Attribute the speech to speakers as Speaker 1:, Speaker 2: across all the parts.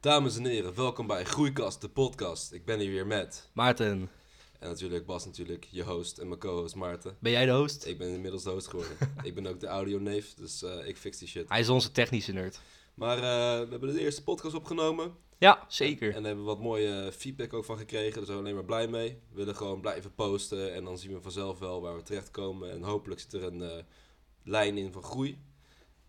Speaker 1: Dames en heren, welkom bij Groeikast, de podcast. Ik ben hier weer met.
Speaker 2: Maarten,
Speaker 1: En natuurlijk Bas natuurlijk, je host en mijn co-host Maarten.
Speaker 2: ben jij de host?
Speaker 1: Ik ben inmiddels de host geworden. ik ben ook de audioneef, dus eh, ik fix die shit.
Speaker 2: Hij is onze technische nerd.
Speaker 1: Maar eh, we hebben de eerste podcast opgenomen.
Speaker 2: Ja, zeker.
Speaker 1: En daar hebben we wat mooie feedback ook van gekregen. dus Daar zijn we alleen maar blij mee. We willen gewoon blijven posten. En dan zien we vanzelf wel waar we terechtkomen. En hopelijk zit er een eh, lijn in van groei.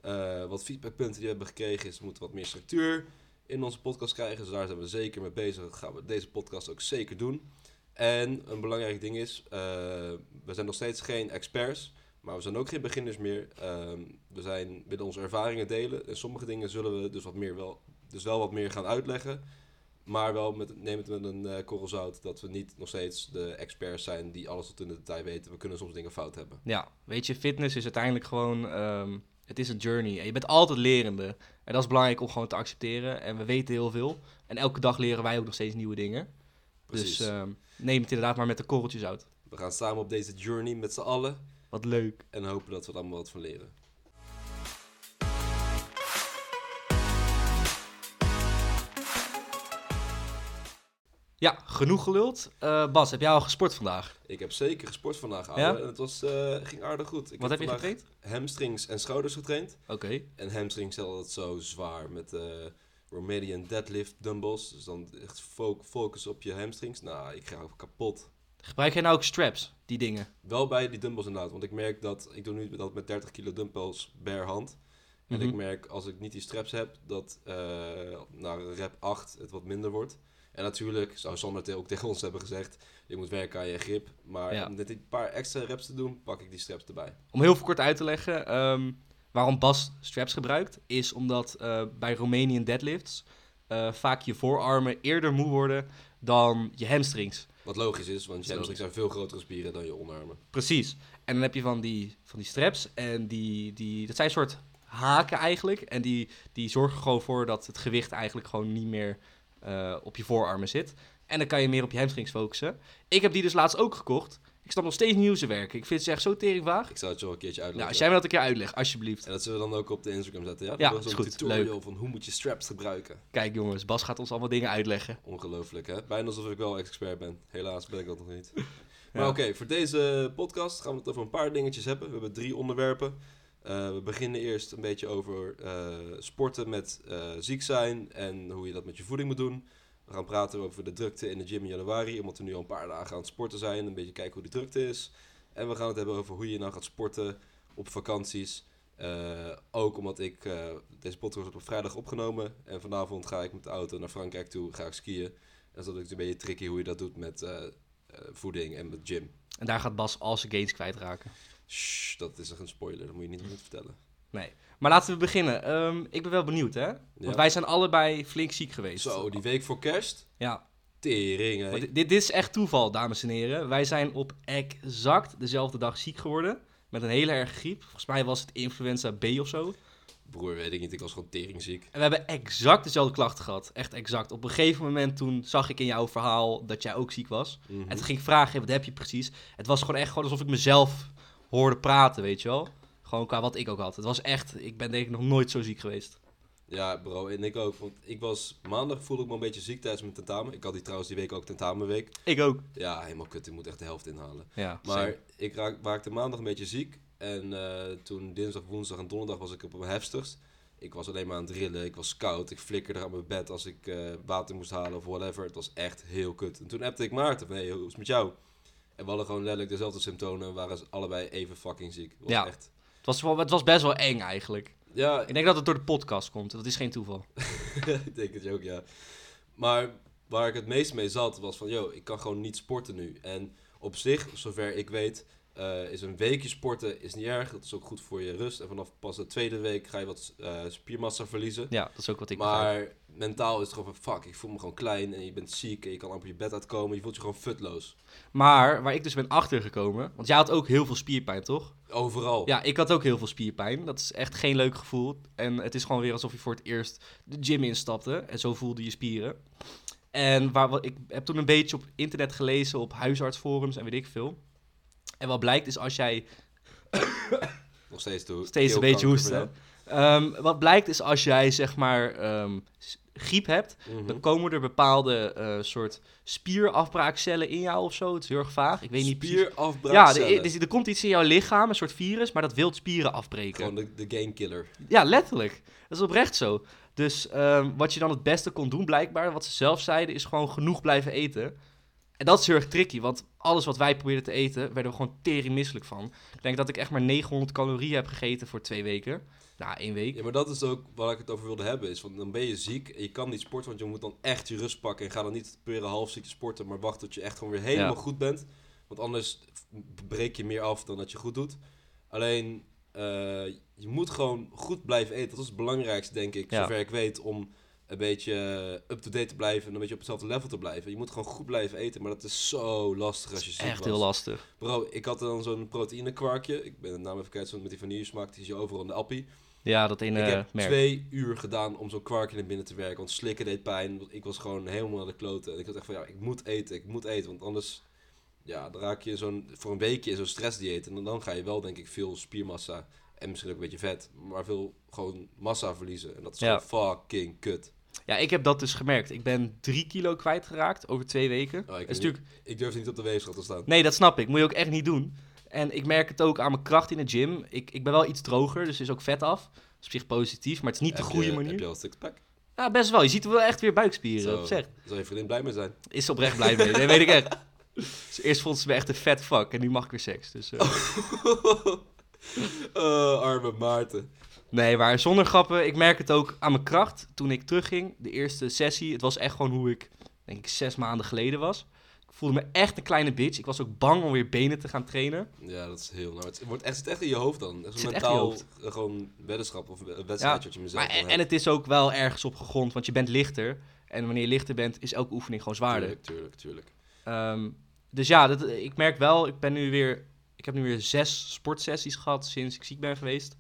Speaker 1: Eh, wat feedbackpunten die we hebben gekregen is... we moeten wat meer structuur in onze podcast krijgen. Dus daar zijn we zeker mee bezig. Dat gaan we deze podcast ook zeker doen. En een belangrijk ding is... eh, we zijn nog steeds geen experts... Maar we zijn ook geen beginners meer. Ehm, we zijn willen onze ervaringen delen. En sommige dingen zullen we dus, wat meer wel, dus wel wat meer gaan uitleggen. Maar wel met, neem het met een eh, korrel zout dat we niet nog steeds de experts zijn die alles tot in de detail weten. We kunnen soms dingen fout hebben.
Speaker 2: Ja, weet je, fitness is uiteindelijk gewoon, ehm, het is een journey. En je bent altijd lerende. En dat is belangrijk om gewoon te accepteren. En we weten heel veel. En elke dag leren wij ook nog steeds nieuwe dingen.
Speaker 1: Precies.
Speaker 2: Dus ehm, neem het inderdaad maar met de korreltjes uit.
Speaker 1: we gaan samen op deze journey met z'n allen
Speaker 2: Wat leuk.
Speaker 1: en hopen dat we er allemaal wat van leren.
Speaker 2: Ja, genoeg geluld. Eh, Bas, heb jij al gesport vandaag?
Speaker 1: Ik heb zeker gesport vandaag, ouwe.
Speaker 2: Ja?
Speaker 1: En het was, eh, ging aardig goed. Ik
Speaker 2: Wat heb je
Speaker 1: vandaag
Speaker 2: getraind?
Speaker 1: Hamstrings en schouders getraind.
Speaker 2: Oké.
Speaker 1: En hamstrings zijn altijd zo zwaar met eh Romanian deadlift dumbbells. Dus dan echt fo- focus op je hamstrings. Nou, ik ga kapot.
Speaker 2: Gebruik jij nou ook straps, die dingen?
Speaker 1: Wel bij die dumbbells inderdaad. Want ik merk dat ik doe nu dat met 30 kilo dumbbells per hand. En
Speaker 2: Mhm.
Speaker 1: ik merk als ik niet die straps heb, dat eh naar rep 8 het wat minder wordt. En natuurlijk zou Sander te- ook tegen ons hebben gezegd: je moet werken aan je grip. Maar
Speaker 2: Ja.
Speaker 1: om net een paar extra reps te doen, pak ik die straps erbij.
Speaker 2: Om heel kort uit te leggen, ehm, waarom Bas straps gebruikt, is omdat eh, bij Romanian deadlifts eh, vaak je voorarmen eerder moe worden dan je hamstrings.
Speaker 1: Wat logisch is, want je
Speaker 2: Zo.
Speaker 1: hamstrings zijn veel grotere spieren dan je onderarmen.
Speaker 2: Precies. En dan heb je van die, van die straps en die, die, dat zijn soort haken eigenlijk. En die, die zorgen gewoon voor dat het gewicht eigenlijk gewoon niet meer eh, op je voorarmen zit. En dan kan je meer op je hamstrings focussen. Ik heb die dus laatst ook gekocht. Ik snap nog steeds niet hoe ze werken. Ik vind ze echt zo teringvaag.
Speaker 1: Ik zou het zo een keertje
Speaker 2: Nou,
Speaker 1: uitleggen.
Speaker 2: als jij me dat een keer uitlegt, alsjeblieft.
Speaker 1: En dat zullen we dan ook op de Instagram zetten. Ja,
Speaker 2: Ja,
Speaker 1: Dat
Speaker 2: is
Speaker 1: zo'n
Speaker 2: goed.
Speaker 1: tutorial van hoe moet je straps gebruiken.
Speaker 2: Kijk jongens, Bas gaat ons allemaal dingen uitleggen.
Speaker 1: Ongelooflijk, hè? Bijna alsof ik wel expert ben. Helaas ben ik dat nog niet. Maar
Speaker 2: Ja.
Speaker 1: oké, voor deze podcast gaan we het over een paar dingetjes hebben. We hebben drie onderwerpen. Eh, we beginnen eerst een beetje over eh, sporten met eh, ziek zijn en hoe je dat met je voeding moet doen. We gaan praten over de drukte in de gym in januari, omdat we nu al een paar dagen aan het sporten zijn. Een beetje kijken hoe de drukte is. En we gaan het hebben over hoe je nou gaat sporten op vakanties. Eh, ook omdat ik eh, deze podcast heb op vrijdag opgenomen. En vanavond ga ik met de auto naar Frankrijk toe, ga ik skiën. En dat is een beetje tricky hoe je dat doet met eh, eh, voeding en met gym.
Speaker 2: En daar gaat Bas al zijn gains kwijtraken.
Speaker 1: Shh, dat is echt een spoiler, dat moet je niet nog niet vertellen.
Speaker 2: Nee. Maar laten we beginnen. Ehm, ik ben wel benieuwd, hè? Want
Speaker 1: Ja.
Speaker 2: wij zijn allebei flink ziek geweest.
Speaker 1: Zo, die week voor kerst.
Speaker 2: Ja.
Speaker 1: Tering, hè?
Speaker 2: Want dit, dit is echt toeval, dames en heren. Wij zijn op exact dezelfde dag ziek geworden. Met een hele erge griep. Volgens mij was het influenza B of zo.
Speaker 1: Broer, weet ik niet, ik was gewoon teringziek.
Speaker 2: En we hebben exact dezelfde klachten gehad. Echt exact. Op een gegeven moment toen zag ik in jouw verhaal dat jij ook ziek was.
Speaker 1: Mhm.
Speaker 2: En toen ging ik vragen, hé, wat heb je precies? Het was gewoon echt gewoon alsof ik mezelf hoorde praten, weet je wel? Gewoon qua wat ik ook had. Het was echt, ik ben denk ik nog nooit zo ziek geweest.
Speaker 1: Ja, bro, en ik ook. Want ik was maandag voelde ik me een beetje ziek tijdens mijn tentamen. Ik had die trouwens die week ook tentamenweek.
Speaker 2: Ik ook.
Speaker 1: Ja, helemaal kut, ik moet echt de helft inhalen.
Speaker 2: Ja,
Speaker 1: Maar ik raak, raakte maandag een beetje ziek. En eh, toen dinsdag, woensdag en donderdag was ik op mijn heftigst. Ik was alleen maar aan het rillen. Ik was koud. Ik flikkerde aan mijn bed als ik eh, water moest halen of whatever. Het was echt heel kut. En toen appte ik Maarten. van, Hey, hoe is het met jou? En we hadden gewoon letterlijk dezelfde symptomen. En waren allebei even fucking ziek. Het was
Speaker 2: Ja.
Speaker 1: Echt...
Speaker 2: het, was wel, het was best wel eng eigenlijk.
Speaker 1: Ja,
Speaker 2: Ik denk dat het door de podcast komt. Dat is geen toeval.
Speaker 1: ik denk het ook, ja. Maar waar ik het meest mee zat, was van, yo, ik kan gewoon niet sporten nu. En op zich, zover ik weet, eh, is een weekje sporten is niet erg. Dat is ook goed voor je rust. En vanaf pas de tweede week ga je wat eh, spiermassa verliezen.
Speaker 2: Ja, dat is ook wat ik begrijp.
Speaker 1: maar mentaal is het gewoon van, fuck, ik voel me gewoon klein en je bent ziek en je kan amper je bed uitkomen. Je voelt je gewoon futloos.
Speaker 2: Maar waar ik dus ben achtergekomen... Want jij had ook heel veel spierpijn, toch?
Speaker 1: Overal.
Speaker 2: Ja, ik had ook heel veel spierpijn. Dat is echt geen leuk gevoel. En het is gewoon weer alsof je voor het eerst de gym instapte. En zo voelde je spieren. En waar, wat, ik heb toen een beetje op internet gelezen, op huisartsforums en weet ik veel. En wat blijkt is als jij
Speaker 1: Nog steeds toe.
Speaker 2: Steeds een beetje
Speaker 1: keelkanker,
Speaker 2: hoesten. Ehm, wat blijkt is als jij zeg maar ehm, s- griep hebt,
Speaker 1: Mhm.
Speaker 2: dan komen er bepaalde eh, soort spierafbraakcellen in jou of zo. Het is heel erg vaag. Ik weet niet precies. Ja, e-
Speaker 1: Spierafbraakcellen.
Speaker 2: er, er- er komt iets in jouw lichaam, een soort virus, maar dat wil spieren afbreken.
Speaker 1: Gewoon de, de gamekiller.
Speaker 2: Ja, letterlijk. Dat is oprecht zo. Dus ehm, wat je dan het beste kon doen, blijkbaar, wat ze zelf zeiden, is gewoon genoeg blijven eten. En dat is heel erg tricky, want alles wat wij probeerden te eten, werden we gewoon tering misselijk van. Ik denk dat ik echt maar 900 calorieën heb gegeten voor twee weken. Nou, één week.
Speaker 1: Ja, maar dat is ook waar ik het over wilde hebben. Is van, dan ben je ziek en je kan niet sporten, want je moet dan echt je rust pakken. En ga dan niet proberen half ziek te sporten, maar wacht tot je echt gewoon weer helemaal
Speaker 2: Ja.
Speaker 1: goed bent. Want anders breek je meer af dan dat je goed doet. Alleen, eh, je moet gewoon goed blijven eten. Dat is het belangrijkste, denk ik,
Speaker 2: Ja.
Speaker 1: zover ik weet, om een beetje eh, up-to-date te blijven en een beetje op hetzelfde level te blijven. Je moet gewoon goed blijven eten, maar dat is zo lastig als je ziek
Speaker 2: Echt
Speaker 1: was.
Speaker 2: heel lastig.
Speaker 1: Bro, ik had dan zo'n proteïnekwarkje. Ik ben de naam even kwijt, zo'n met die vanille smaak, die zie je overal in de appie.
Speaker 2: Ja, dat ene
Speaker 1: Ik heb
Speaker 2: eh, merk.
Speaker 1: twee uur gedaan om zo'n kwarkje naar binnen te werken. Want slikken deed pijn. want Ik was gewoon helemaal aan de kloten. En ik had echt van, ja, ik moet eten, ik moet eten. Want anders, ja, dan raak je in zo'n, voor een weekje in zo'n stressdieet. En dan- dan ga je wel, denk ik, veel spiermassa en misschien ook een beetje vet. Maar veel gewoon massa verliezen. En dat is
Speaker 2: Ja.
Speaker 1: gewoon fucking kut.
Speaker 2: Ja, ik heb dat dus gemerkt. Ik ben drie kilo kwijtgeraakt over twee weken.
Speaker 1: weet
Speaker 2: dat is
Speaker 1: niet.
Speaker 2: natuurlijk
Speaker 1: Oh, Ik durf niet op de weegschaal te staan.
Speaker 2: Nee, dat snap ik. Moet je ook echt niet doen. En ik merk het ook aan mijn kracht in de gym. Ik, ik ben wel iets droger, dus er is ook vet af. Dat is op zich positief, maar het is niet de
Speaker 1: Heb
Speaker 2: goede
Speaker 1: je-
Speaker 2: manier.
Speaker 1: Heb je al een sixpack?
Speaker 2: Ja, best wel. Je ziet er wel echt weer buikspieren
Speaker 1: Zo.
Speaker 2: op. Zeg,
Speaker 1: Zou je vriendin blij mee zijn?
Speaker 2: is ze oprecht blij mee. Dat weet ik echt. Dus eerst vond ze me echt een vet fuck en nu mag ik weer seks. Dus,
Speaker 1: Oh.
Speaker 2: eh.
Speaker 1: Eh, arme Maarten.
Speaker 2: Nee, maar zonder grappen. Ik merk het ook aan mijn kracht. Toen ik terugging, de eerste sessie. Het was echt gewoon hoe ik, denk ik, zes maanden geleden was. Ik voelde me echt een kleine bitch. Ik was ook bang om weer benen te gaan trainen.
Speaker 1: Ja, dat is heel nauw. Het, wordt echt, het zit echt in je hoofd dan. Echt
Speaker 2: Het
Speaker 1: zo'n
Speaker 2: zit echt in je
Speaker 1: mentaal eh, gewoon weddenschap of een wedstrijd
Speaker 2: Ja,
Speaker 1: wat je mezelf
Speaker 2: Maar, en, en het is ook wel ergens op gegrond, want je bent lichter. En wanneer je lichter bent, is elke oefening gewoon zwaarder.
Speaker 1: Tuurlijk, tuurlijk, tuurlijk.
Speaker 2: Ehm, dus ja, dat, ik merk wel, ik ben nu weer. Ik heb nu weer zes sportsessies gehad sinds ik ziek ben geweest.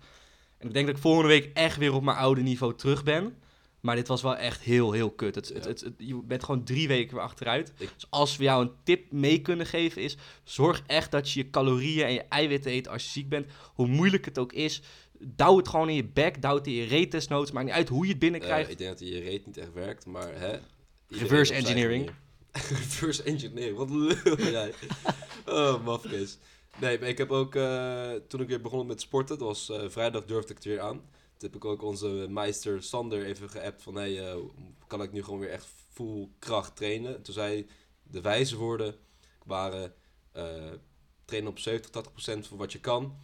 Speaker 2: En ik denk dat ik volgende week echt weer op mijn oude niveau terug ben. Maar dit was wel echt heel, heel kut. Het, het,
Speaker 1: Ja.
Speaker 2: het, het- je bent gewoon drie weken weer achteruit.
Speaker 1: Ik-
Speaker 2: Dus als we jou een tip mee kunnen geven is... zorg echt dat je je calorieën en je eiwitten eet als je ziek bent. Hoe moeilijk het ook is. Douw het gewoon in je bek. Douw het in je reet desnoods. Maakt niet uit hoe je het
Speaker 1: Eh,
Speaker 2: binnenkrijgt.
Speaker 1: ik denk dat je reet niet echt werkt, maar hè. iedereen
Speaker 2: Reverse
Speaker 1: op zijn
Speaker 2: engineering.
Speaker 1: manier. Reverse engineering, wat lul ben jij. oh, mafkees. Nee, maar ik heb ook, eh, toen ik weer begon met sporten, dat was eh, vrijdag durfde ik het weer aan. Toen heb ik ook onze meester Sander even geappt van, hey, eh, kan ik nu gewoon weer echt full kracht trainen? Toen zei de wijze woorden waren, eh, trainen op 70, 80 voor wat je kan.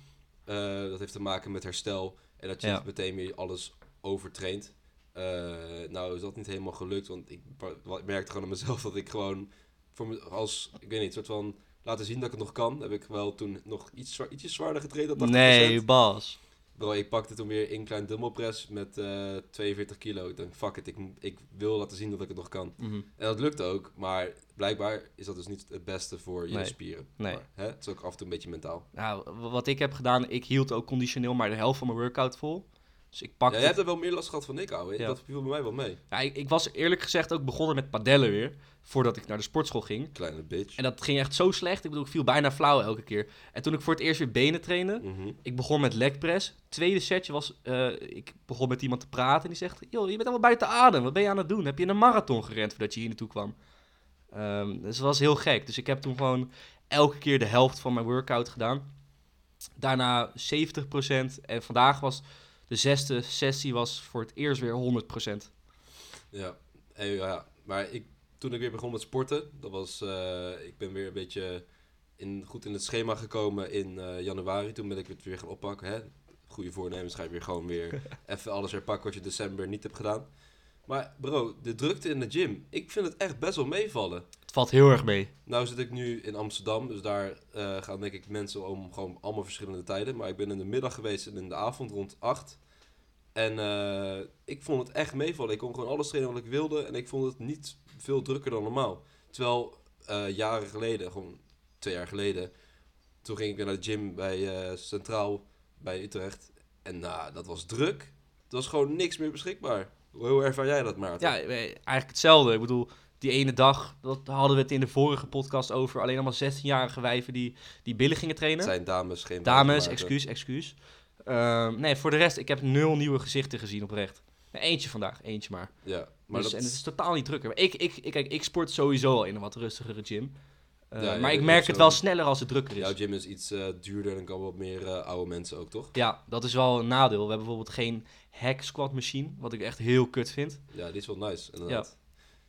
Speaker 1: Eh, dat heeft te maken met herstel en dat je
Speaker 2: Ja.
Speaker 1: niet meteen weer alles overtraint. Eh, nou is dat niet helemaal gelukt, want ik wa- wa- merkte gewoon aan mezelf dat ik gewoon voor me, als, ik weet niet, soort van laten zien dat ik het nog kan. Heb ik wel toen nog iets, zwa- ietsje zwaarder getraind dan 80%.
Speaker 2: nee, Bas.
Speaker 1: Bro, ik pakte toen weer in klein dumbbellpress met eh 42 kilo. Ik dacht, fuck it, ik, m- ik wil laten zien dat ik het nog kan.
Speaker 2: Mhm.
Speaker 1: En dat lukt ook, maar blijkbaar is dat dus niet het beste voor je
Speaker 2: Nee.
Speaker 1: spieren.
Speaker 2: Nee.
Speaker 1: Maar, hè, het is ook af en toe een beetje mentaal.
Speaker 2: Nou, w- wat ik heb gedaan, ik hield ook conditioneel maar de helft van mijn workout vol. Dus ik pakte...
Speaker 1: Ja, jij hebt er wel meer last gehad van ik, ouwe.
Speaker 2: Ja.
Speaker 1: Dat viel bij mij wel mee.
Speaker 2: Ja, ik, ik was eerlijk gezegd ook begonnen met padellen weer, voordat ik naar de sportschool ging.
Speaker 1: Kleine bitch.
Speaker 2: En dat ging echt zo slecht, ik bedoel, ik viel bijna flauw elke keer. En toen ik voor het eerst weer benen trainde,
Speaker 1: Mhm.
Speaker 2: ik begon met leg press. Tweede setje was, eh, ik begon met iemand te praten en die zegt, joh, je bent helemaal buiten adem, wat ben je aan het doen? Heb je een marathon gerend voordat je hier naartoe kwam? Ehm, dus dat was heel gek. Dus ik heb toen gewoon elke keer de helft van mijn workout gedaan. Daarna 70% en vandaag was de zesde sessie was voor het eerst weer 100%.
Speaker 1: Ja, en ja maar ik, toen ik weer begon met sporten, dat was, eh, ik ben weer een beetje in, goed in het schema gekomen in eh, januari. Toen ben ik het weer gaan oppakken. Hè? Goede voornemens ga je weer gewoon weer even alles herpakken wat je december niet hebt gedaan. Maar bro, de drukte in de gym, ik vind het echt best wel meevallen.
Speaker 2: Het valt heel erg mee.
Speaker 1: Nou zit ik nu in Amsterdam, dus daar eh, gaan denk ik mensen om gewoon allemaal verschillende tijden. Maar ik ben in de middag geweest en in de avond rond 8. En eh, ik vond het echt meevallen. Ik kon gewoon alles trainen wat ik wilde en ik vond het niet veel drukker dan normaal. Terwijl eh, jaren geleden, gewoon twee jaar geleden, toen ging ik weer naar de gym bij eh, Centraal bij Utrecht. En nou, dat was druk. Er was gewoon niks meer beschikbaar. Hoe ervaar jij dat, Maarten?
Speaker 2: Ja, eh, eigenlijk hetzelfde. Ik bedoel, die ene dag, dat hadden we het in de vorige podcast over. Alleen allemaal 16-jarige wijven die, die billen gingen
Speaker 1: Het
Speaker 2: trainen.
Speaker 1: zijn dames geen
Speaker 2: Dames,
Speaker 1: mannen, Maarten.
Speaker 2: excuus, excuus. Ehm, nee, voor de rest, ik heb nul nieuwe gezichten gezien oprecht. Nee, eentje vandaag, eentje maar.
Speaker 1: Ja, maar
Speaker 2: dus,
Speaker 1: dat,
Speaker 2: En het is totaal niet drukker. Maar Ik, ik, ik, kijk, ik sport sowieso al in een wat rustigere gym. Eh,
Speaker 1: Ja, ja,
Speaker 2: maar
Speaker 1: ik
Speaker 2: ik
Speaker 1: ook
Speaker 2: merk
Speaker 1: zo.
Speaker 2: het wel sneller als het drukker is.
Speaker 1: jouw gym is iets eh, duurder en kan wat meer eh, oude mensen ook, toch?
Speaker 2: Ja, dat is wel een nadeel. We hebben bijvoorbeeld geen hack squat machine, wat ik echt heel kut vind.
Speaker 1: Ja, die is wel nice, inderdaad.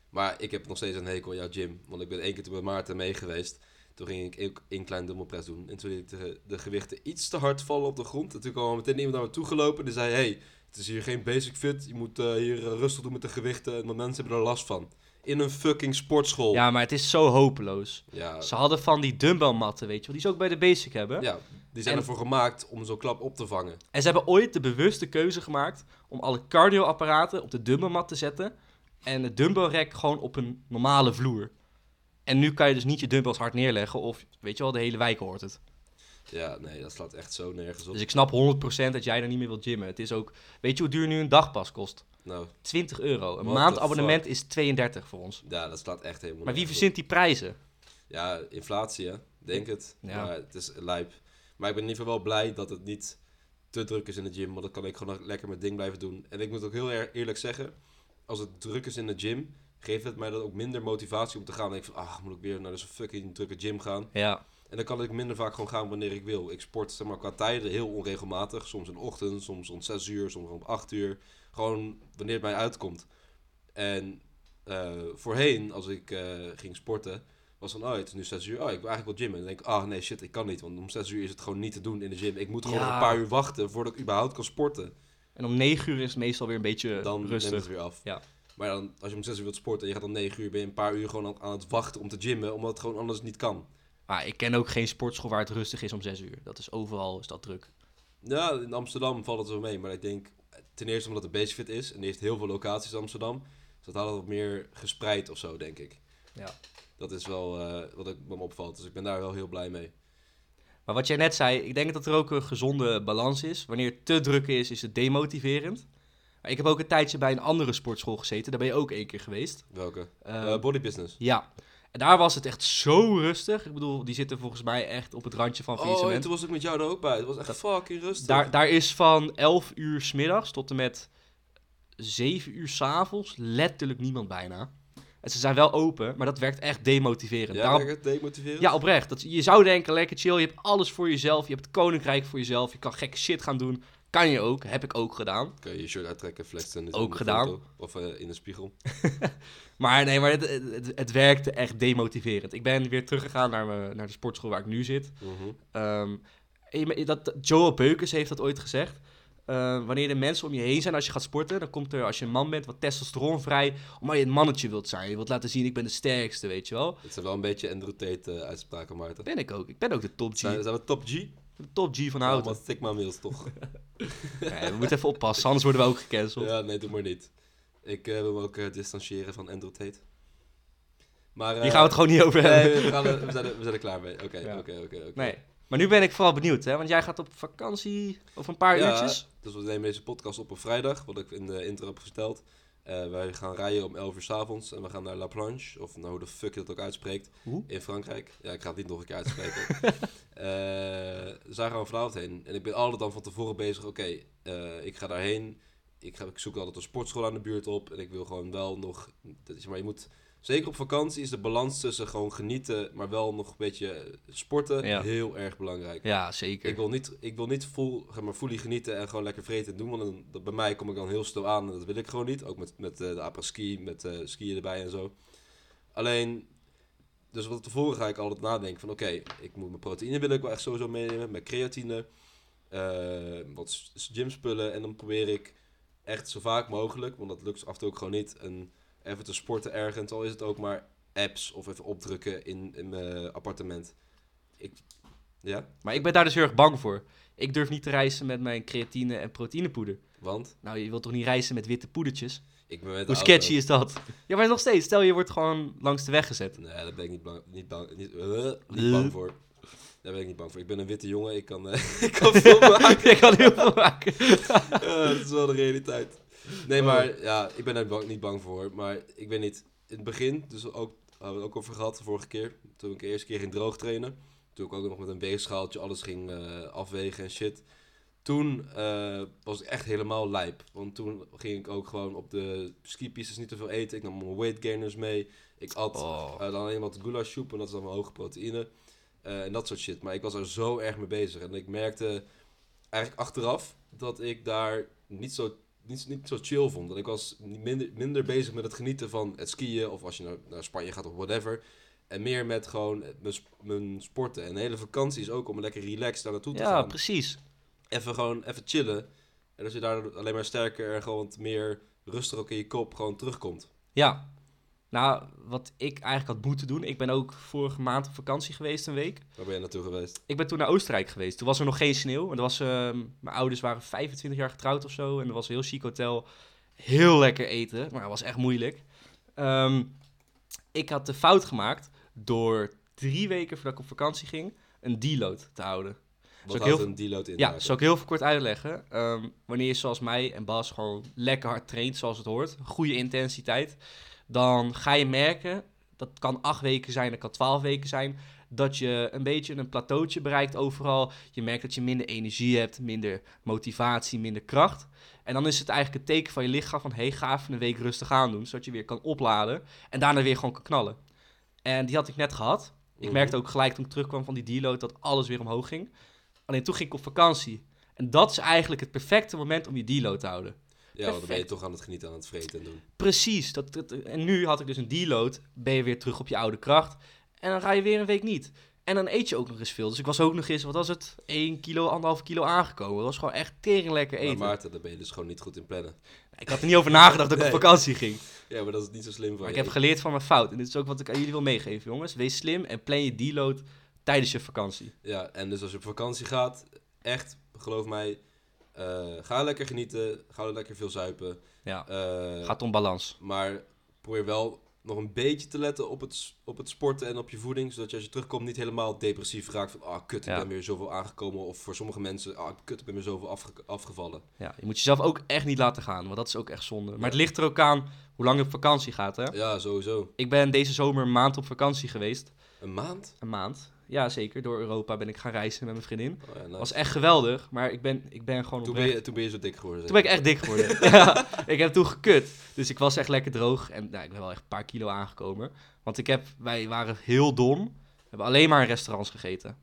Speaker 1: Maar ik heb nog steeds een hekel aan jouw gym. Want ik ben één keer toen met Maarten mee geweest. Toen ging ik ook één klein dumbbellpress doen. En toen liet ik de, de gewichten iets te hard vallen op de grond. En toen kwam er meteen iemand naar me toe gelopen. En die zei, hey, het is hier geen basic fit. Je moet eh, hier eh, rustig doen met de gewichten. En mensen hebben er last van. In een fucking sportschool.
Speaker 2: Ja, maar het is zo hopeloos.
Speaker 1: Oh. ja,
Speaker 2: Ze hadden van die dumbbellmatten, weet je wel, die ze ook bij de basic hebben.
Speaker 1: ja, die zijn
Speaker 2: En-
Speaker 1: ervoor gemaakt om zo'n klap op te vangen.
Speaker 2: En ze hebben ooit de bewuste keuze gemaakt om alle cardioapparaten op de dumbbellmat te zetten. En het dumbbellrek gewoon op een normale vloer. En nu kan je dus niet je dumbbells hard neerleggen of, weet je wel, de hele wijk hoort het.
Speaker 1: Ja, nee, dat slaat echt zo nergens op.
Speaker 2: Dus ik snap 100% dat jij daar niet meer wilt gymmen. Het is ook, weet je hoe duur nu een dagpas kost?
Speaker 1: Nou,
Speaker 2: 20 euro. Een
Speaker 1: What
Speaker 2: maandabonnement is 32 voor ons.
Speaker 1: ja, dat slaat echt helemaal
Speaker 2: Maar
Speaker 1: nergens
Speaker 2: wie
Speaker 1: op.
Speaker 2: verzint die prijzen?
Speaker 1: Ja, inflatie, hè? Denk het.
Speaker 2: Ja.
Speaker 1: Maar het is lijp. Maar ik ben in ieder geval wel blij dat het niet te druk is in de gym. Want dan kan ik gewoon lekker mijn ding blijven doen. En ik moet ook heel eer- eerlijk zeggen, als het druk is in de gym, geeft het mij dan ook minder motivatie om te gaan. Dan denk ik van, ach, moet ik weer naar zo'n fucking drukke gym gaan.
Speaker 2: Ja,
Speaker 1: En dan kan ik minder vaak gewoon gaan wanneer ik wil. Ik sport zeg maar, qua tijden heel onregelmatig. Soms in de ochtend, soms om 6 uur, soms om 8 uur. Gewoon wanneer het mij uitkomt. En eh, voorheen, als ik eh, ging sporten, was dan, oh, het is nu 6 uur. Oh, ik wil eigenlijk wel gymmen. En dan denk ik, ah nee, shit, ik kan niet. Want om 6 uur is het gewoon niet te doen in de gym. Ik moet gewoon
Speaker 2: Ja.
Speaker 1: een paar uur wachten voordat ik überhaupt kan sporten.
Speaker 2: en om 9 uur is het meestal weer een beetje
Speaker 1: Dan neemt
Speaker 2: rustig.
Speaker 1: het weer af.
Speaker 2: Ja.
Speaker 1: Maar dan, als je om 6 uur wilt sporten en je gaat dan 9 uur, ben je een paar uur gewoon aan, aan het wachten om te gymmen. Omdat het gewoon anders niet kan.
Speaker 2: Maar ik ken ook geen sportschool waar het rustig is om 6 uur. Dat is overal is dat druk.
Speaker 1: Ja, in Amsterdam valt het wel mee. Maar ik denk ten eerste omdat het Basefit is. En die heeft heel veel locaties in Amsterdam. Dus dat haalt het wat meer gespreid of zo, denk ik.
Speaker 2: Ja.
Speaker 1: Dat is wel eh, wat ik me opvalt. Dus ik ben daar wel heel blij mee.
Speaker 2: Maar wat jij net zei, ik denk dat er ook een gezonde balans is. Wanneer het te druk is, is het demotiverend. Maar ik heb ook een tijdje bij een andere sportschool gezeten. Daar ben je ook één keer geweest.
Speaker 1: Welke?
Speaker 2: Eh,
Speaker 1: Eh, body Business.
Speaker 2: ja. En daar was het echt zo rustig. Ik bedoel, die zitten volgens mij echt op het randje van
Speaker 1: Oh, en
Speaker 2: faillissement.
Speaker 1: toen was ik met jou er ook bij. Het was echt
Speaker 2: Dat-
Speaker 1: fucking rustig.
Speaker 2: daar, daar is van 11 uur 's middags tot en met 7 uur 's avonds letterlijk niemand bijna. En ze zijn wel open, maar dat werkt echt demotiverend.
Speaker 1: ja,
Speaker 2: Daarom-
Speaker 1: lekker demotiverend.
Speaker 2: Ja, oprecht. Dat, je zou denken, lekker chill, je hebt alles voor jezelf. Je hebt het koninkrijk voor jezelf. Je kan gekke shit gaan doen. Kan je ook, heb ik ook gedaan.
Speaker 1: Kun je je shirt uittrekken, flexen.
Speaker 2: Ook gedaan.
Speaker 1: Of eh, in de spiegel.
Speaker 2: Maar nee, maar het, het, het werkte echt demotiverend. Ik ben weer teruggegaan naar, mijn- naar de sportschool waar ik nu zit.
Speaker 1: Mhm.
Speaker 2: Ehm, en je me- dat, Joel Beukers heeft dat ooit gezegd. Eh, wanneer de mensen om je heen zijn als je gaat sporten, dan komt er als je een man bent wat testosteron vrij, omdat je een mannetje wilt zijn. Je wilt laten zien, ik ben de sterkste, weet je wel.
Speaker 1: Het zijn wel een beetje Andrew Tate eh, uitspraken, Maarten.
Speaker 2: Dat ben ik ook. Ik ben ook de top G.
Speaker 1: Zijn, zijn we top G?
Speaker 2: De top G van
Speaker 1: Nou,
Speaker 2: houten.
Speaker 1: wat stigma mails toch?
Speaker 2: Nee, we moeten even oppassen, anders worden we ook gecanceld.
Speaker 1: Ja, nee, doe maar niet. Ik eh, wil me ook eh, distancieren van Andrew Tate. Maar,
Speaker 2: Hier gaan we het gewoon niet over hebben.
Speaker 1: Eh, nee, we, gaan er- we, zijn er, we zijn er klaar mee. Oké,
Speaker 2: Ja.
Speaker 1: oké, oké. oké.
Speaker 2: Nee. Maar nu ben ik vooral benieuwd, hè? Want jij gaat op vakantie over een paar
Speaker 1: Ja.
Speaker 2: uurtjes.
Speaker 1: Dus we nemen deze podcast op op vrijdag, wat ik in de intro heb verteld. Eh, wij gaan rijden om 11 uur 's avonds en we gaan naar La Planche, of nou, hoe de fuck je dat ook uitspreekt,
Speaker 2: Hoe?
Speaker 1: in Frankrijk. Ja, ik ga het niet nog een keer uitspreken. Eh, dus daar gaan we vanavond heen. En ik ben altijd dan van tevoren bezig, oké, eh, ik ga daarheen. Ik, ga, ik zoek altijd een sportschool aan de buurt op en ik wil gewoon wel nog... Dat is, maar je moet, zeker op vakantie is de balans tussen gewoon genieten, maar wel nog een beetje sporten,
Speaker 2: Ja.
Speaker 1: heel erg belangrijk.
Speaker 2: Ja, zeker.
Speaker 1: Ik wil niet, ik wil niet full, zeg maar, fully genieten en gewoon lekker vreten en doen. Want dan, dat- bij mij kom ik dan heel snel aan en dat wil ik gewoon niet. Ook met, met eh, de apres-ski, met eh skiën erbij en zo. Alleen, dus wat tevoren ga ik altijd nadenken van... Oké, ik moet mijn proteïne wil ik wel echt sowieso meenemen. Mijn creatine, eh, wat s- s- gymspullen. En dan probeer ik echt zo vaak mogelijk, want dat lukt af en toe ook gewoon niet... Een, even te sporten ergens, al is het ook maar apps of even opdrukken in, in mijn appartement. Ik, ja,
Speaker 2: Maar ik ben daar dus heel erg bang voor. Ik durf niet te reizen met mijn creatine en proteïnepoeder.
Speaker 1: want...
Speaker 2: Nou, je wilt toch niet reizen met witte poedertjes?
Speaker 1: Ik ben met de
Speaker 2: Hoe
Speaker 1: auto-
Speaker 2: sketchy is dat? Ja, maar nog steeds. Stel, je wordt gewoon langs de weg gezet.
Speaker 1: Nee, daar ben ik niet bang, niet bang, niet, eh, niet bang voor. Daar ben ik niet bang voor. Ik ben een witte jongen, ik kan, eh, ik kan veel maken.
Speaker 2: ik kan heel veel maken.
Speaker 1: Eh, dat is wel de realiteit. Nee,
Speaker 2: Oh.
Speaker 1: maar ja, ik ben daar bang- niet bang voor. Maar ik weet niet, in het begin, dus ook, hadden we het ook over gehad de vorige keer. Toen ik de eerste keer ging droog trainen. Toen ik ook nog met een weegschaaltje alles ging eh, afwegen en shit. Toen eh, was ik echt helemaal lijp. Want toen ging ik ook gewoon op de skipistes niet te veel eten. Ik nam mijn weight gainers mee. Ik at
Speaker 2: Oh.
Speaker 1: eh, dan alleen wat soep en dat is dan mijn hoge proteïne. Eh, en dat soort shit. Maar ik was er zo erg mee bezig. En ik merkte eigenlijk achteraf dat ik daar niet zo, niet, niet zo chill vond. Dat ik was niet minder, minder bezig met het genieten van het skiën. Of als je naar, naar Spanje gaat of whatever. En meer met gewoon mijn, sp- mijn sporten. En de hele vakantie is ook om lekker relaxed daar naartoe te
Speaker 2: Ja,
Speaker 1: gaan
Speaker 2: precies.
Speaker 1: even gewoon even chillen. En als je daar alleen maar sterker en gewoon wat meer rustig ook in je kop gewoon terugkomt.
Speaker 2: Ja. Nou, wat ik eigenlijk had moeten doen. Ik ben ook vorige maand op vakantie geweest, een week.
Speaker 1: Waar ben je naartoe geweest?
Speaker 2: Ik ben toen naar Oostenrijk geweest. Toen was er nog geen sneeuw. En er was, ehm, mijn ouders waren 25 jaar getrouwd of zo. En er was een heel chic hotel. Heel lekker eten. Maar het was echt moeilijk. Ehm, ik had de fout gemaakt door drie weken voordat ik op vakantie ging... een deload te houden.
Speaker 1: Wat
Speaker 2: ik
Speaker 1: houdt
Speaker 2: heel-
Speaker 1: een deload in? eh,
Speaker 2: Ja,
Speaker 1: eigenlijk?
Speaker 2: zal ik heel veel kort uitleggen. Ehm, wanneer je zoals mij en Bas gewoon lekker hard traint zoals het hoort, goede intensiteit, dan ga je merken, dat kan acht weken zijn, dat kan twaalf weken zijn, dat je een beetje een plateautje bereikt overal. Je merkt dat je minder energie hebt, minder motivatie, minder kracht. En dan is het eigenlijk een teken van je lichaam van, hey, ga even een week rustig aan doen, zodat je weer kan opladen en daarna weer gewoon kan knallen. En die had ik net gehad. Ik
Speaker 1: Mhm.
Speaker 2: merkte ook gelijk toen ik terugkwam van die deload dat alles weer omhoog ging. Alleen toen ging ik op vakantie. En dat is eigenlijk het perfecte moment om je deload te houden.
Speaker 1: Ja, want dan ben je
Speaker 2: perfect.
Speaker 1: toch aan het genieten, aan het vreten en doen.
Speaker 2: Precies. Dat, dat- en nu had ik dus een deload. Ben je weer terug op je oude kracht. En dan ga je weer een week niet. En dan eet je ook nog eens veel. Dus ik was ook nog eens, wat was het? 1 kilo, anderhalf kilo aangekomen. Dat was gewoon echt tering lekker
Speaker 1: Maar
Speaker 2: eten.
Speaker 1: Maarten, daar ben je dus gewoon niet goed in plannen.
Speaker 2: Ik had er niet over nagedacht dat ik
Speaker 1: Nee.
Speaker 2: op vakantie ging.
Speaker 1: Ja, maar dat is niet zo slim van
Speaker 2: Maar ik
Speaker 1: je.
Speaker 2: heb geleerd van mijn fout. En dit is ook wat ik aan jullie wil meegeven, jongens. Wees slim en plan je deload tijdens je vakantie.
Speaker 1: Ja, en dus als je op vakantie gaat, echt, geloof mij, eh, ga lekker genieten. Ga lekker veel zuipen.
Speaker 2: Ja,
Speaker 1: Eh,
Speaker 2: gaat om balans.
Speaker 1: Maar probeer wel nog een beetje te letten op het, s- op het sporten en op je voeding. Zodat je als je terugkomt niet helemaal depressief raakt. Van, ah, kut, ik
Speaker 2: Ja.
Speaker 1: ben weer zoveel aangekomen. Of voor sommige mensen, ah, kut, ik ben weer zoveel afge- afgevallen.
Speaker 2: Ja, je moet jezelf ook echt niet laten gaan, want dat is ook echt zonde. Maar het ligt er ook aan hoe lang je op vakantie gaat, hè.
Speaker 1: Ja, sowieso.
Speaker 2: Ik ben deze zomer een maand op vakantie geweest.
Speaker 1: Een maand?
Speaker 2: Een maand. Ja, zeker. Door Europa ben ik gaan reizen met mijn vriendin.
Speaker 1: Oh, ja, nou,
Speaker 2: was echt geweldig, maar ik ben, ik ben gewoon
Speaker 1: toen,
Speaker 2: oprecht...
Speaker 1: ben je, toen ben je zo dik geworden.
Speaker 2: Toen ben ik echt dik geworden. ja, ik heb toen gekut. Dus ik was echt lekker droog. En nou, ik ben wel echt een paar kilo aangekomen. Want ik heb, wij waren heel dom. We hebben alleen maar in restaurants gegeten.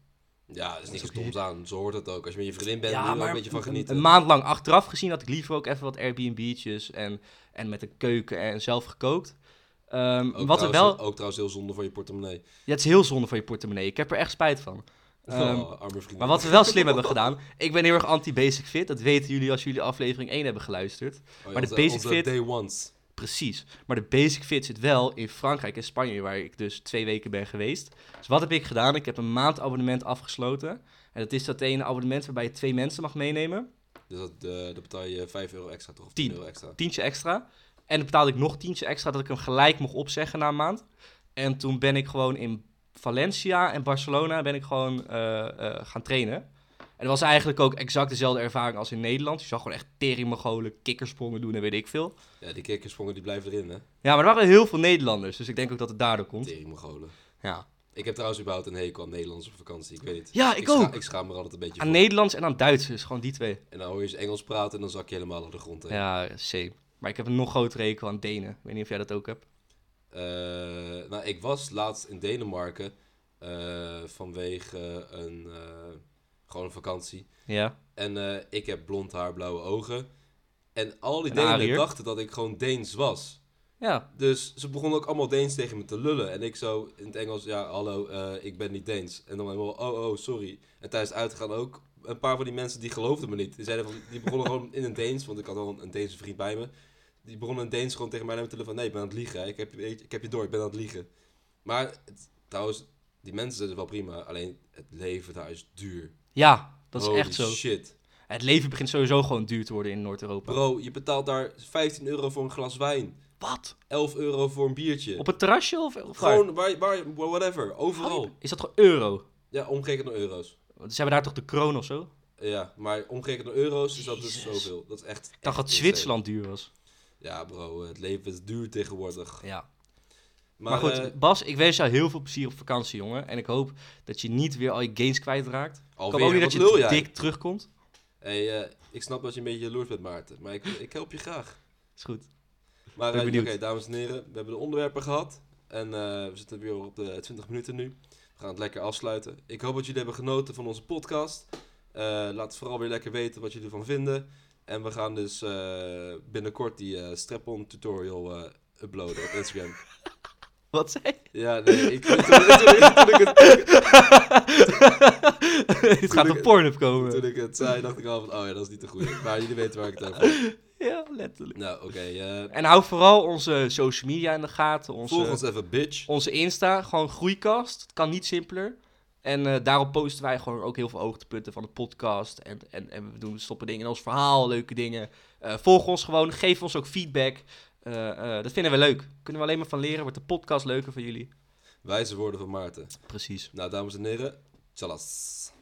Speaker 1: zeker. Ja, dat is niks
Speaker 2: Dat is
Speaker 1: stoms aan. Zo hoort het ook. Als je met je vriendin bent, moet je er ook een beetje van genieten.
Speaker 2: Een, maand lang achteraf gezien had ik liever ook even wat Airbnb'tjes. En, en met een keuken en zelf gekookt. Ehm,
Speaker 1: ook,
Speaker 2: wat er
Speaker 1: trouwens,
Speaker 2: wel...
Speaker 1: ook trouwens heel zonde voor je portemonnee.
Speaker 2: Ja, het is heel zonde van je portemonnee. Ik heb er echt spijt van. Ehm,
Speaker 1: Oh, arme vriendin.
Speaker 2: Maar wat we wel slim hebben gedaan. Ik ben heel erg anti-basic fit. Dat weten jullie als jullie aflevering 1 hebben geluisterd.
Speaker 1: Oh, ja,
Speaker 2: maar de
Speaker 1: onze-
Speaker 2: basic
Speaker 1: onze
Speaker 2: fit-
Speaker 1: day ones.
Speaker 2: Precies. Maar de basic fit zit wel in Frankrijk en Spanje, waar ik dus twee weken ben geweest. Dus wat heb ik gedaan? Ik heb een maand abonnement afgesloten. En dat is dat ene abonnement waarbij je twee mensen mag meenemen.
Speaker 1: Dus dat, eh daar betaal je 5 euro extra, toch? Of 10,
Speaker 2: Tien.
Speaker 1: euro extra.
Speaker 2: Tientje extra. En dan betaalde ik nog tientje extra dat ik hem gelijk mocht opzeggen na een maand. En toen ben ik gewoon in Valencia en Barcelona ben ik gewoon eh, eh, gaan trainen. En dat was eigenlijk ook exact dezelfde ervaring als in Nederland. Je zag gewoon echt teringmogolen, kikkersprongen doen en weet ik veel.
Speaker 1: Ja, die kikkersprongen die blijven erin, hè?
Speaker 2: Ja, maar er waren heel veel Nederlanders, dus ik denk ook dat het daardoor komt.
Speaker 1: Teringmogolen.
Speaker 2: Ja,
Speaker 1: Ik heb trouwens überhaupt een hekel aan Nederlands op vakantie. Ik weet niet.
Speaker 2: ja ik,
Speaker 1: scha-
Speaker 2: ook.
Speaker 1: ik schaam me er altijd een beetje
Speaker 2: Aan
Speaker 1: voor.
Speaker 2: Nederlands en aan Duitsers, gewoon die twee.
Speaker 1: En dan hoor je ze Engels praten en dan zak je helemaal op de grond. heen.
Speaker 2: Ja, same. Maar ik heb een nog grotere rekel aan Denen. Ik weet niet of jij dat ook hebt.
Speaker 1: Eh, nou, ik was laatst in Denemarken eh, vanwege een eh, gewoon een vakantie.
Speaker 2: Ja.
Speaker 1: En eh, ik heb blond haar, blauwe ogen. En al die
Speaker 2: Een
Speaker 1: Denen
Speaker 2: Ariër.
Speaker 1: dachten dat ik gewoon Deens was.
Speaker 2: Ja.
Speaker 1: Dus ze begonnen ook allemaal Deens tegen me te lullen. En ik zo in het Engels, ja, hallo, eh, ik ben niet Deens. En dan helemaal, oh, oh, sorry. En tijdens het uitgaan ook een paar van die mensen die geloofden me niet. Die, zeiden van, die begonnen gewoon in een Deens, want ik had al een, een Deense vriend bij me. Die begonnen in Deens gewoon tegen mij naar me te lullen van, nee, ik ben aan het liegen. hè. Ik heb, je- ik heb je door, ik ben aan het liegen. Maar het- trouwens, die mensen zijn wel prima. Alleen het leven daar is duur.
Speaker 2: Ja, dat is
Speaker 1: Holy
Speaker 2: echt zo.
Speaker 1: shit.
Speaker 2: Het leven begint sowieso gewoon duur te worden in Noord-Europa.
Speaker 1: Bro, je betaalt daar 15 euro voor een glas wijn.
Speaker 2: Wat?
Speaker 1: 11 euro voor een biertje.
Speaker 2: Op het terrasje of, of waar?
Speaker 1: Gewoon, waar, waar, whatever, overal.
Speaker 2: Is dat gewoon euro?
Speaker 1: Ja, omgerekend naar euro's.
Speaker 2: Want Ze hebben daar toch de kroon of zo?
Speaker 1: Ja, maar omgerekend naar euro's is dat dus
Speaker 2: Jezus.
Speaker 1: zoveel. Dat is echt...
Speaker 2: Ik dacht
Speaker 1: echt
Speaker 2: dat
Speaker 1: insane.
Speaker 2: Zwitserland duur was.
Speaker 1: Ja, bro, het leven is duur tegenwoordig.
Speaker 2: Ja.
Speaker 1: Maar,
Speaker 2: Maar, goed,
Speaker 1: eh,
Speaker 2: Bas, ik wens jou heel veel plezier op vakantie, jongen. En ik hoop dat je niet weer al je gains kwijtraakt. Ik
Speaker 1: alweer,
Speaker 2: hoop ook niet
Speaker 1: wat
Speaker 2: dat je
Speaker 1: lul jij?
Speaker 2: dik terugkomt.
Speaker 1: Hey, eh, ik snap dat je een beetje jaloers bent, Maarten, maar ik, ik help je graag.
Speaker 2: Is goed.
Speaker 1: Maar
Speaker 2: Ben
Speaker 1: eh, oké,
Speaker 2: benieuwd.
Speaker 1: dames en heren, we hebben de onderwerpen gehad. En eh, we zitten weer op de 20 minuten nu. We gaan het lekker afsluiten. Ik hoop dat jullie hebben genoten van onze podcast. Eh, laat vooral weer lekker weten wat jullie ervan vinden. En we gaan dus eh, binnenkort die eh strap-on tutorial eh, uploaden op Instagram.
Speaker 2: Wat zei je?
Speaker 1: ja, nee, ik, toen, toen- toen- toen ik het,
Speaker 2: Het gaat op Pornhub komen.
Speaker 1: toen ik het zei, dacht ik al van, oh ja, dat is niet de goede. Maar jullie weten waar ik het over heb.
Speaker 2: Ja, letterlijk.
Speaker 1: Nou, oké. eh,
Speaker 2: En hou vooral onze social media in de gaten. Onze,
Speaker 1: volg ons even, bitch.
Speaker 2: onze Insta, gewoon groeikast. Het kan niet simpeler. En eh, daarop posten wij gewoon ook heel veel hoogtepunten van de podcast. En, en, en we doen stoppen dingen in ons verhaal, leuke dingen. Eh, volg ons gewoon, geef ons ook feedback. Eh, eh, dat vinden we leuk. Kunnen we alleen maar van leren. Wordt de podcast leuker voor jullie.
Speaker 1: Wijze woorden van Maarten.
Speaker 2: Precies.
Speaker 1: Nou, dames en heren, tjallas.